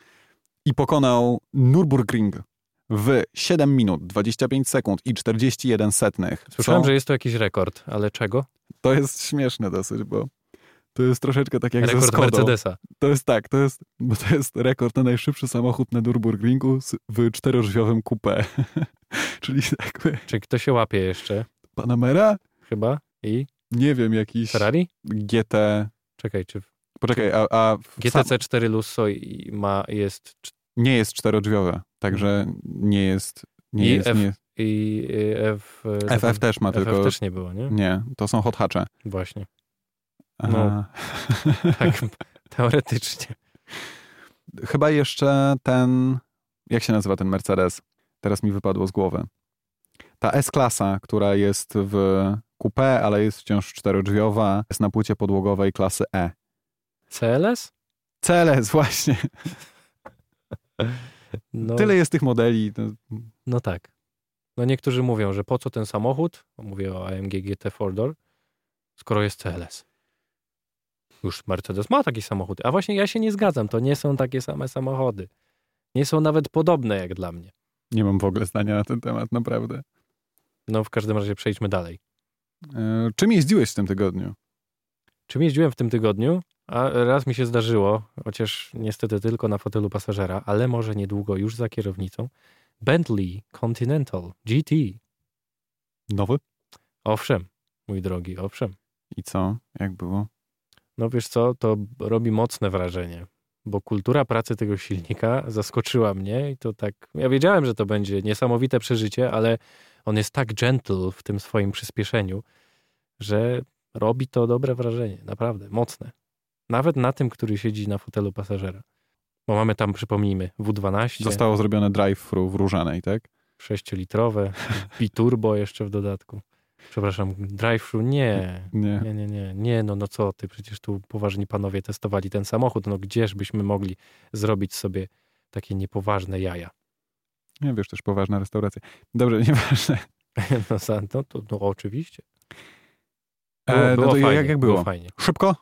Speaker 1: i pokonał Nürburgring w 7 minut, 25 sekund i 41 setnych.
Speaker 2: Słyszałem,
Speaker 1: Co-
Speaker 2: że jest to jakiś rekord, ale czego?
Speaker 1: To jest śmieszne dosyć, bo to jest troszeczkę tak jak ze
Speaker 2: rekord
Speaker 1: Skodą.
Speaker 2: Mercedesa.
Speaker 1: To jest tak, to jest, bo to jest rekord na najszybszy samochód na Nürburgringu z- w czterodrzwiowym coupé. czyli jakby
Speaker 2: Czy kto się łapie jeszcze?
Speaker 1: Panamera?
Speaker 2: Chyba? I
Speaker 1: Nie wiem, jakiś...
Speaker 2: Ferrari?
Speaker 1: GT.
Speaker 2: Czekaj, czy
Speaker 1: Poczekaj, a, a w- sam,
Speaker 2: GTC 4 Lusso i ma, jest cz-
Speaker 1: nie jest czterodrzwiowe, także nie jest. Nie
Speaker 2: Mhm. I
Speaker 1: jest
Speaker 2: F-
Speaker 1: nie,
Speaker 2: i y, F... y,
Speaker 1: FF też ma,
Speaker 2: FF
Speaker 1: tylko. Mm.
Speaker 2: też nie było, nie?
Speaker 1: Nie, to są hot hatche.
Speaker 2: Właśnie.
Speaker 1: Aha.
Speaker 2: Tak, teoretycznie. No.
Speaker 1: Chyba jeszcze ten. Jak się nazywa ten Mercedes? Teraz mi wypadło z głowy. Ta S-klasa, która jest w coupé, ale jest wciąż czterodrzwiowa, jest na płycie podłogowej klasy E.
Speaker 2: CLS?
Speaker 1: CLS, właśnie.
Speaker 2: No,
Speaker 1: Tyle jest tych modeli. No,
Speaker 2: No tak. No niektórzy mówią, że po co ten samochód? Mówię o AMG GT 4-door, skoro jest CLS. Już Mercedes ma takie samochody. A właśnie ja się nie zgadzam, to nie są takie same samochody. Nie są nawet podobne jak dla mnie.
Speaker 1: Nie mam w ogóle zdania na ten temat, naprawdę.
Speaker 2: No w każdym razie przejdźmy dalej.
Speaker 1: E, Czym jeździłeś w tym tygodniu?
Speaker 2: Czym jeździłem w tym tygodniu? A raz mi się zdarzyło, chociaż niestety tylko na fotelu pasażera, ale może niedługo już za kierownicą. Bentley Continental GT.
Speaker 1: Nowy?
Speaker 2: Owszem, mój drogi, owszem.
Speaker 1: I co? Jak było?
Speaker 2: No wiesz co, to b- robi mocne wrażenie, bo kultura pracy tego silnika zaskoczyła mnie i to tak, ja wiedziałem, że to będzie niesamowite przeżycie, ale on jest tak gentle w tym swoim przyspieszeniu, że robi to dobre wrażenie, naprawdę, mocne. Nawet na tym, który siedzi na fotelu pasażera. Bo mamy tam, przypomnijmy, W12,
Speaker 1: Zostało zrobione drive-thru w Różanej, tak?
Speaker 2: 6-litrowe, biturbo jeszcze w dodatku. Przepraszam, drive-thru, nie.
Speaker 1: Nie.
Speaker 2: Nie, nie, nie, nie, no, no co ty, przecież tu poważni panowie testowali ten samochód, no gdzież byśmy mogli zrobić sobie takie niepoważne jaja.
Speaker 1: Nie, wiesz, też poważna restauracja. Dobrze, nieważne.
Speaker 2: No, za- no to no, oczywiście. Było,
Speaker 1: E,
Speaker 2: było
Speaker 1: no to
Speaker 2: fajnie,
Speaker 1: jak, jak było?
Speaker 2: fajnie.
Speaker 1: Szybko?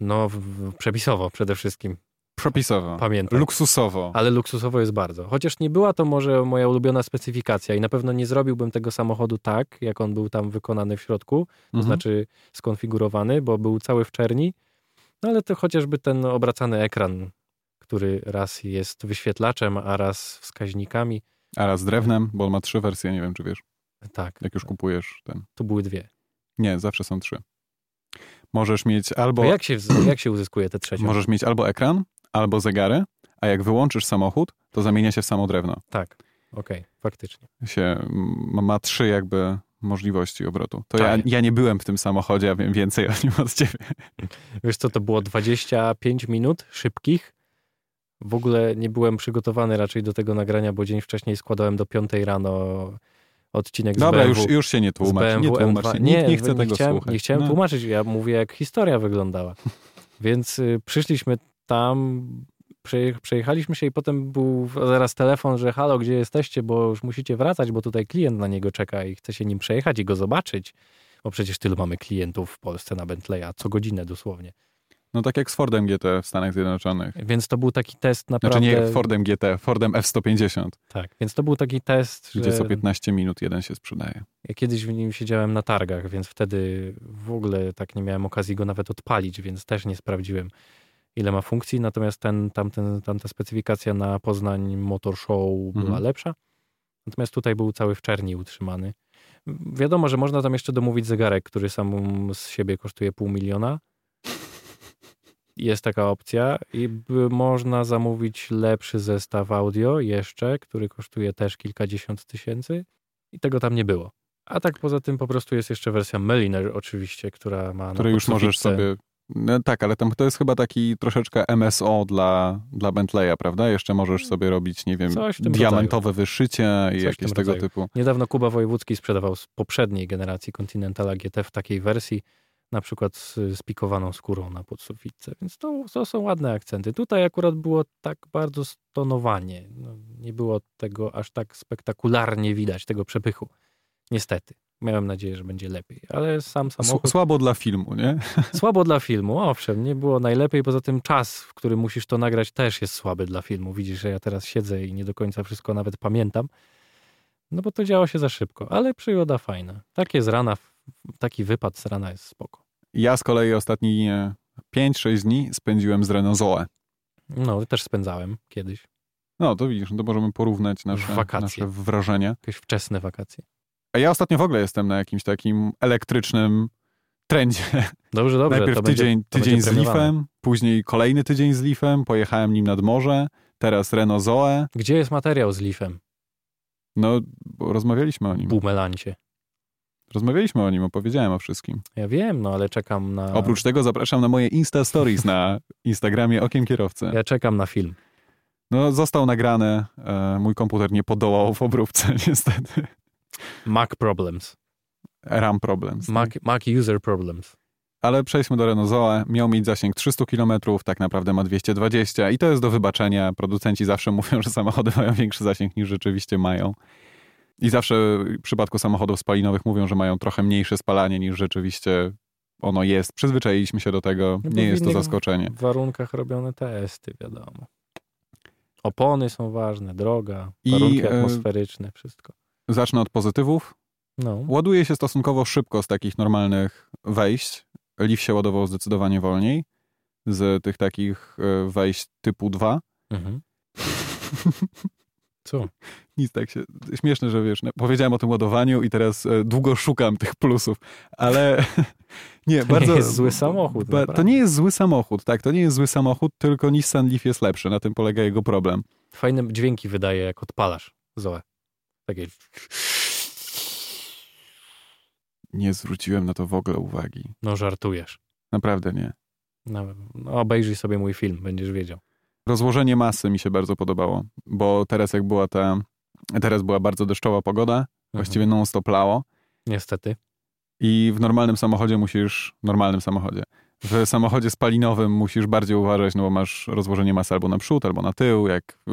Speaker 2: No w, w, przepisowo przede wszystkim,
Speaker 1: Przepisowo.
Speaker 2: pamiętam.
Speaker 1: Luksusowo.
Speaker 2: ale luksusowo jest bardzo. Chociaż nie była to może moja ulubiona specyfikacja i na pewno nie zrobiłbym tego samochodu tak, jak on był tam wykonany w środku, to
Speaker 1: Mhm.
Speaker 2: znaczy skonfigurowany, bo był cały w czerni. No ale to chociażby ten obracany ekran, który raz jest wyświetlaczem, a raz wskaźnikami.
Speaker 1: A raz z drewnem, bo on ma trzy wersje, nie wiem, czy wiesz,
Speaker 2: Tak,
Speaker 1: jak już kupujesz ten.
Speaker 2: tu były dwie.
Speaker 1: Nie, zawsze są trzy. Możesz mieć
Speaker 2: Bo
Speaker 1: albo,
Speaker 2: jak się, wz- jak się uzyskuje te trzecią?
Speaker 1: możesz mieć albo ekran, albo zegary, a jak wyłączysz samochód, to zamienia się w samo drewno.
Speaker 2: Tak, okej, faktycznie.
Speaker 1: Się, m- ma trzy jakby możliwości obrotu. To ja,
Speaker 2: Tak.
Speaker 1: ja nie byłem w tym samochodzie, a wiem więcej o nim od ciebie.
Speaker 2: Wiesz co, to było 25 minut szybkich. W ogóle nie byłem przygotowany raczej do tego nagrania, bo dzień wcześniej składałem do 5 rano odcinek z
Speaker 1: Dobra,
Speaker 2: BMW.
Speaker 1: już, już się nie
Speaker 2: z
Speaker 1: tłumacz. Nie
Speaker 2: BMW
Speaker 1: tłumacz
Speaker 2: M2.
Speaker 1: się. Nikt nie chce
Speaker 2: nie
Speaker 1: tego
Speaker 2: chciałem,
Speaker 1: słuchać.
Speaker 2: Nie chciałem
Speaker 1: No.
Speaker 2: tłumaczyć, ja mówię jak historia wyglądała. Więc y, przyszliśmy tam, przeje- przejechaliśmy się i potem był zaraz telefon, że halo, gdzie jesteście, bo już musicie wracać, bo tutaj klient na niego czeka i chce się nim przejechać i go zobaczyć. Bo przecież tylu mamy klientów w Polsce na Bentleya, co godzinę dosłownie.
Speaker 1: No tak jak z Fordem GT w Stanach Zjednoczonych.
Speaker 2: Więc to był taki test
Speaker 1: Znaczy
Speaker 2: naprawdę...
Speaker 1: nie Fordem GT, Fordem F-150,
Speaker 2: Tak, więc to był taki test,
Speaker 1: gdzie
Speaker 2: że
Speaker 1: co 15 minut jeden się sprzedaje.
Speaker 2: ja kiedyś w nim siedziałem na targach, więc wtedy w ogóle tak nie miałem okazji go nawet odpalić, więc też nie sprawdziłem ile ma funkcji, natomiast ten, tamten, tamta specyfikacja na Poznań Motor Show była
Speaker 1: Mhm.
Speaker 2: lepsza. Natomiast tutaj był cały w czerni utrzymany. Wiadomo, że można tam jeszcze domówić zegarek, który sam z siebie kosztuje pół miliona. Jest taka opcja i by można zamówić lepszy zestaw audio jeszcze, który kosztuje też kilkadziesiąt tysięcy i tego tam nie było. A tak poza tym po prostu jest jeszcze wersja Meliner oczywiście, która ma... na
Speaker 1: które już możesz
Speaker 2: podsuwitce-
Speaker 1: sobie. No, tak, ale tam to jest chyba taki troszeczkę MSO dla, dla Bentleya, prawda? Jeszcze możesz sobie robić, nie wiem,
Speaker 2: Coś w tym
Speaker 1: diamentowe wyszycie i
Speaker 2: Coś w
Speaker 1: jakieś
Speaker 2: tym
Speaker 1: tego
Speaker 2: rodzaju.
Speaker 1: typu.
Speaker 2: Niedawno Kuba Wojewódzki sprzedawał z poprzedniej generacji Continentala GT w takiej wersji, na przykład z z pikowaną skórą na podsuwitce, więc to, to są ładne akcenty. Tutaj akurat było tak bardzo stonowanie, no, nie było tego aż tak spektakularnie widać, tego przepychu. Niestety. Miałem nadzieję, że będzie lepiej, ale sam
Speaker 1: S-
Speaker 2: samochód...
Speaker 1: Słabo dla filmu, nie?
Speaker 2: Słabo dla filmu, owszem, nie było najlepiej, poza tym czas, w którym musisz to nagrać też jest słaby dla filmu. Widzisz, że ja teraz siedzę i nie do końca wszystko nawet pamiętam, no bo to działo się za szybko, ale przygoda fajna. Takie z rana, taki wypad z rana jest spoko.
Speaker 1: Ja z kolei ostatnie 5-6 dni spędziłem z Renault Zoe.
Speaker 2: No, też spędzałem kiedyś,
Speaker 1: No to widzisz, no to możemy porównać nasze,
Speaker 2: Wakacje.
Speaker 1: nasze wrażenia.
Speaker 2: jakieś wczesne wakacje.
Speaker 1: A ja ostatnio w ogóle jestem na jakimś takim elektrycznym trendzie.
Speaker 2: Dobrze, dobrze.
Speaker 1: Najpierw
Speaker 2: to będzie-
Speaker 1: tydzień,
Speaker 2: to
Speaker 1: tydzień
Speaker 2: będzie
Speaker 1: z
Speaker 2: premiowane.
Speaker 1: Leafem, później kolejny tydzień z Leafem, pojechałem nim nad morze, teraz Renault Zoe.
Speaker 2: Gdzie jest materiał z Leafem?
Speaker 1: No, bo rozmawialiśmy o nim.
Speaker 2: Bumelancie.
Speaker 1: Rozmawialiśmy o nim, opowiedziałem o wszystkim.
Speaker 2: Ja wiem, no ale czekam na...
Speaker 1: Oprócz tego zapraszam na moje Insta Stories na Instagramie Okiem Kierowcy.
Speaker 2: Ja czekam na film.
Speaker 1: No, został nagrany, e, mój komputer nie podołał w obróbce niestety.
Speaker 2: Mac Problems.
Speaker 1: RAM problems.
Speaker 2: Mac, Mac User Problems.
Speaker 1: Ale przejdźmy do Renault Zoe. Miał mieć zasięg 300 km, tak naprawdę ma 220 i to jest do wybaczenia. Producenci zawsze mówią, że samochody mają większy zasięg niż rzeczywiście mają. I zawsze w przypadku samochodów spalinowych mówią, że mają trochę mniejsze spalanie niż rzeczywiście ono jest. Przyzwyczailiśmy się do tego,
Speaker 2: No bo
Speaker 1: nie
Speaker 2: w
Speaker 1: jest to
Speaker 2: innych-
Speaker 1: zaskoczenie.
Speaker 2: w warunkach robione testy, wiadomo. Opony są ważne, droga,
Speaker 1: I,
Speaker 2: warunki
Speaker 1: e,
Speaker 2: atmosferyczne, wszystko.
Speaker 1: Zacznę od pozytywów.
Speaker 2: No,
Speaker 1: Ładuje się stosunkowo szybko z takich normalnych wejść. Leaf się ładował zdecydowanie wolniej z tych takich e, wejść typu 2.
Speaker 2: mhm. co?
Speaker 1: Nic tak się. Śmieszne, że wiesz. no, Powiedziałem o tym ładowaniu i teraz e, długo szukam tych plusów, ale nie,
Speaker 2: To
Speaker 1: bardzo.
Speaker 2: nie jest zły samochód.
Speaker 1: Ba, to
Speaker 2: naprawdę.
Speaker 1: nie jest zły samochód, tak. To nie jest zły samochód, tylko Nissan Leaf jest lepszy. Na tym polega jego problem.
Speaker 2: Fajne dźwięki wydaje, jak odpalasz Zoe. Takie...
Speaker 1: Nie zwróciłem na to w ogóle uwagi.
Speaker 2: No, żartujesz.
Speaker 1: Naprawdę nie.
Speaker 2: No, no, obejrzyj sobie mój film, będziesz wiedział.
Speaker 1: rozłożenie masy mi się bardzo podobało, bo teraz jak była ta, teraz była bardzo deszczowa pogoda, właściwie non-stop lało
Speaker 2: Mhm. Niestety.
Speaker 1: i w normalnym samochodzie musisz, w normalnym samochodzie, w samochodzie spalinowym musisz bardziej uważać, no bo masz rozłożenie masy albo na przód, albo na tył, jak y,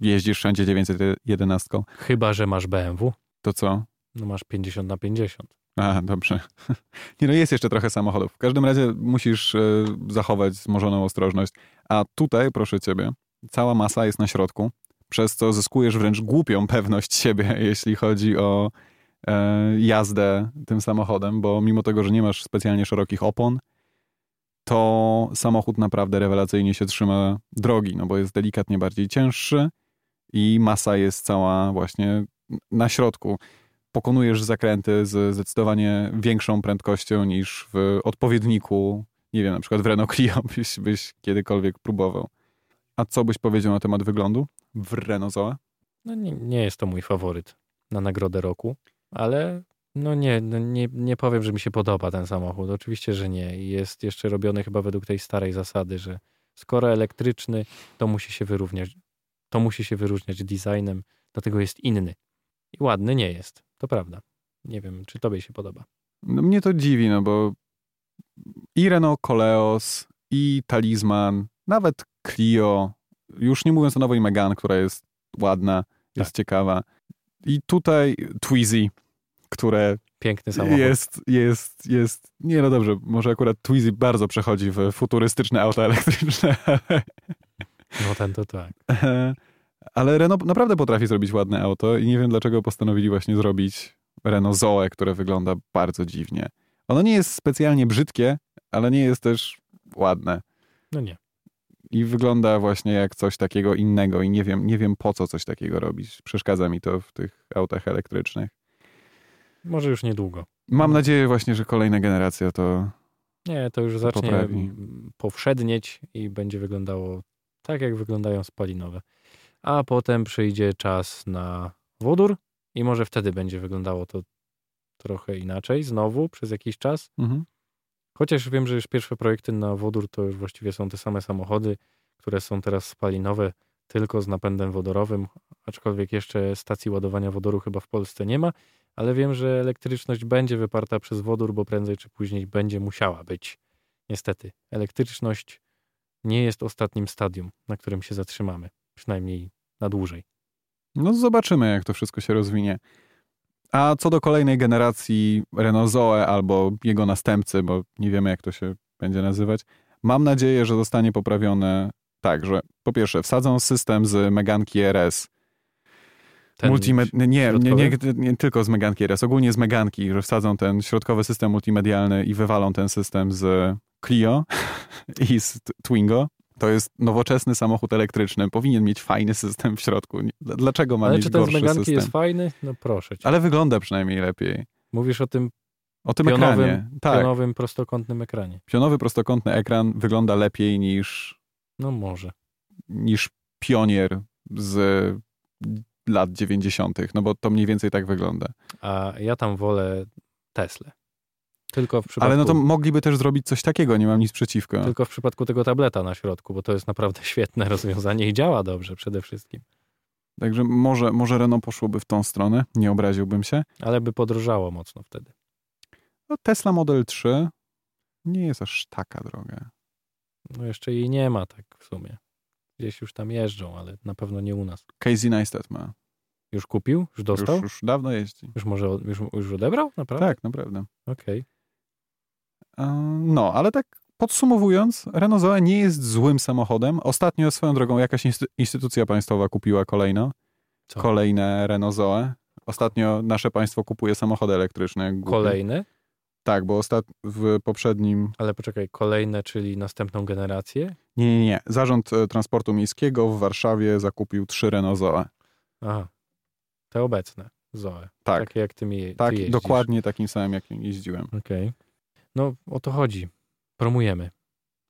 Speaker 1: jeździsz wszędzie 911,
Speaker 2: Chyba, że masz BMW,
Speaker 1: to co?
Speaker 2: no masz 50 na 50.
Speaker 1: A, dobrze. Nie no, jest jeszcze trochę samochodów. W każdym razie musisz y, zachować zmożoną ostrożność. A tutaj, proszę ciebie, cała masa jest na środku, przez co zyskujesz wręcz głupią pewność siebie, jeśli chodzi o e, jazdę tym samochodem, bo mimo tego, że nie masz specjalnie szerokich opon, to samochód naprawdę rewelacyjnie się trzyma drogi, no bo jest delikatnie bardziej cięższy i masa jest cała właśnie na środku pokonujesz zakręty z zdecydowanie większą prędkością niż w odpowiedniku, nie wiem, na przykład w Renault Clio byś, byś kiedykolwiek próbował. A co byś powiedział na temat wyglądu w Renault Zoe?
Speaker 2: No nie, nie jest to mój faworyt na nagrodę roku, ale no nie, no nie, nie powiem, że mi się podoba ten samochód. Oczywiście, że nie. I Jest jeszcze robiony chyba według tej starej zasady, że skoro elektryczny, to musi się wyrównać, to musi się wyróżniać designem, dlatego jest inny. I ładny nie jest, to prawda. Nie wiem, czy tobie się podoba.
Speaker 1: No mnie to dziwi, no bo i Renault Coleos, i Talisman, nawet Clio, już nie mówiąc o nowej Megane, która jest ładna, jest ciekawa. I tutaj Twizy, które
Speaker 2: Piękny samochód.
Speaker 1: Jest, jest, jest. Nie, no dobrze, może akurat Twizy bardzo przechodzi w futurystyczne auta elektryczne,
Speaker 2: No ten to tak.
Speaker 1: ale Renault naprawdę potrafi zrobić ładne auto i nie wiem dlaczego postanowili właśnie zrobić Renault Zoe, które wygląda bardzo dziwnie. Ono nie jest specjalnie brzydkie, ale nie jest też ładne
Speaker 2: No nie.
Speaker 1: i wygląda właśnie jak coś takiego innego i nie wiem, nie wiem po co coś takiego robić. Przeszkadza mi to w tych autach elektrycznych.
Speaker 2: Może już niedługo.
Speaker 1: Mam nadzieję właśnie, że kolejna generacja to
Speaker 2: Nie, to już zacznie
Speaker 1: poprawi.
Speaker 2: m, powszednieć i będzie wyglądało tak, jak wyglądają spalinowe. A potem przyjdzie czas na wodór i może wtedy będzie wyglądało to trochę inaczej, znowu przez jakiś czas.
Speaker 1: mhm.
Speaker 2: Chociaż wiem, że już pierwsze projekty na wodór to już właściwie są te same samochody, które są teraz spalinowe, tylko z napędem wodorowym, aczkolwiek jeszcze stacji ładowania wodoru chyba w Polsce nie ma, ale wiem, że elektryczność będzie wyparta przez wodór, bo prędzej czy później będzie musiała być. Niestety, elektryczność nie jest ostatnim stadium, na którym się zatrzymamy, przynajmniej na dłużej.
Speaker 1: No zobaczymy, jak to wszystko się rozwinie. A co do kolejnej generacji Renault Zoe albo jego następcy, bo nie wiemy, jak to się będzie nazywać, mam nadzieję, że zostanie poprawione tak, że po pierwsze wsadzą system z Meganki RS,
Speaker 2: Ten
Speaker 1: Multimed- nie, nie, nie, nie,
Speaker 2: środkowy?
Speaker 1: nie tylko z Meganki RS, ogólnie z Meganki, że wsadzą ten środkowy system multimedialny i wywalą ten system z Clio i z T- Twingo. To jest nowoczesny samochód elektryczny. Powinien mieć fajny system w środku. Nie- dl- Dlaczego ma
Speaker 2: Ale
Speaker 1: mieć
Speaker 2: czy ten z
Speaker 1: gorszy
Speaker 2: Meganki
Speaker 1: system?
Speaker 2: jest fajny? No proszę cię.
Speaker 1: Ale wygląda przynajmniej lepiej.
Speaker 2: Mówisz o tym
Speaker 1: O tym
Speaker 2: Pionowym-
Speaker 1: ekranie. Tak, pionowy.
Speaker 2: pionowym prostokątnym ekranie.
Speaker 1: prostokątny ekran wygląda lepiej niż,
Speaker 2: No może.
Speaker 1: niż pionier z lat 90., no bo to mniej więcej tak wygląda.
Speaker 2: a ja tam wolę Teslę. Tylko w przypadku, Tak.
Speaker 1: Ale no to mogliby też zrobić coś takiego, nie mam nic przeciwko.
Speaker 2: tylko w przypadku tego tableta na środku, bo to jest naprawdę świetne rozwiązanie i działa dobrze przede wszystkim.
Speaker 1: Także może, może Renault poszłoby w tą stronę, nie obraziłbym się.
Speaker 2: Ale by podrożało mocno wtedy.
Speaker 1: No, Tesla Model 3 nie jest aż taka droga.
Speaker 2: No jeszcze jej nie ma tak w sumie. Gdzieś już tam jeżdżą, ale na pewno nie u nas.
Speaker 1: Casey Neistat ma.
Speaker 2: Już kupił? Już
Speaker 1: Już,
Speaker 2: dostał? Już,
Speaker 1: już dawno jeździ.
Speaker 2: może od- już, już odebrał? Naprawdę?
Speaker 1: Tak, naprawdę.
Speaker 2: Okej.
Speaker 1: E, No, ale tak podsumowując, Renault Zoe nie jest złym samochodem. Ostatnio swoją drogą jakaś inst- instytucja państwowa kupiła kolejno.
Speaker 2: Co?
Speaker 1: Kolejne Renault Zoe. Ostatnio nasze państwo kupuje samochody elektryczne. jak głupie.
Speaker 2: Kolejne,
Speaker 1: Tak, bo ostat... w poprzednim
Speaker 2: ale poczekaj, kolejne, czyli następną generację?
Speaker 1: Nie, nie, nie. Zarząd e, Transportu Miejskiego w Warszawie zakupił trzy Renault Zoe.
Speaker 2: Aha. Te obecne, Zoe.
Speaker 1: Tak,
Speaker 2: Takie jak ty mi je,
Speaker 1: tak,
Speaker 2: ty jeździsz.
Speaker 1: dokładnie takim samym, jakim jeździłem.
Speaker 2: Okej. No o to chodzi. Promujemy.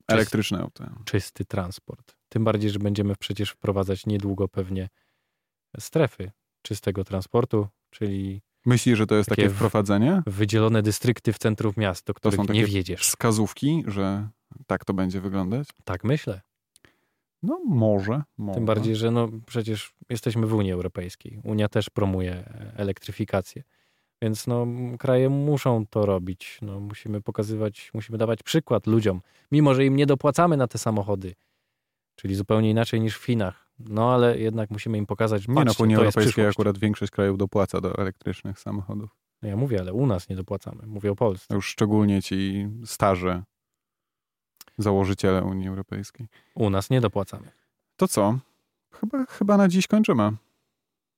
Speaker 1: Elektryczne auto.
Speaker 2: czysty transport. Tym bardziej, że będziemy przecież wprowadzać niedługo pewnie strefy czystego transportu, czyli
Speaker 1: Myślisz, że to jest takie,
Speaker 2: Takie w-
Speaker 1: wprowadzenie?
Speaker 2: wydzielone dystrykty w centrum miast, do których
Speaker 1: są
Speaker 2: nie
Speaker 1: takie
Speaker 2: wjedziesz.
Speaker 1: Wskazówki, że tak to będzie wyglądać?
Speaker 2: Tak myślę.
Speaker 1: No może, może.
Speaker 2: Tym bardziej, że no przecież jesteśmy w Unii Europejskiej. Unia też promuje e, elektryfikację. Więc no, kraje muszą to robić. No, musimy pokazywać, musimy dawać przykład ludziom, mimo że im nie dopłacamy na te samochody. Czyli zupełnie inaczej niż w Chinach. No ale jednak musimy im pokazać,
Speaker 1: Nie no,
Speaker 2: patrzcie,
Speaker 1: w Unii
Speaker 2: to jest
Speaker 1: Europejskiej
Speaker 2: przyszłość.
Speaker 1: akurat większość krajów dopłaca do elektrycznych samochodów.
Speaker 2: No ja mówię, ale u nas nie dopłacamy. Mówię o Polsce.
Speaker 1: Już szczególnie ci starzy założyciele Unii Europejskiej.
Speaker 2: U nas nie dopłacamy.
Speaker 1: To co? Chyba, chyba na dziś kończymy.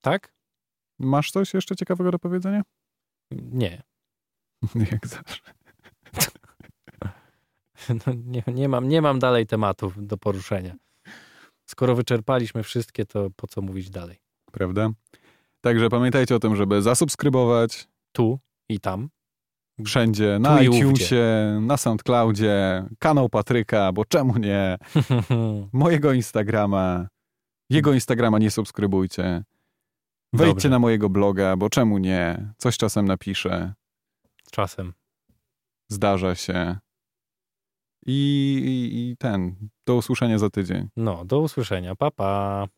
Speaker 2: Tak?
Speaker 1: Masz coś jeszcze ciekawego do powiedzenia?
Speaker 2: Nie.
Speaker 1: Jak zawsze.
Speaker 2: No, nie, nie, mam, nie mam dalej tematów do poruszenia. Skoro wyczerpaliśmy wszystkie, to po co mówić dalej?
Speaker 1: prawda? Także pamiętajcie o tym, żeby zasubskrybować
Speaker 2: Tu i tam.
Speaker 1: wszędzie, na
Speaker 2: i
Speaker 1: iTunesie, na SoundCloudzie, kanał Patryka, bo czemu nie? Mojego Instagrama, jego Instagrama nie subskrybujcie. Wejdźcie
Speaker 2: Dobrze.
Speaker 1: na mojego bloga, bo czemu nie? Coś czasem napiszę,
Speaker 2: Czasem.
Speaker 1: zdarza się. I, i, i ten, do usłyszenia za tydzień.
Speaker 2: No, do usłyszenia. Pa, pa.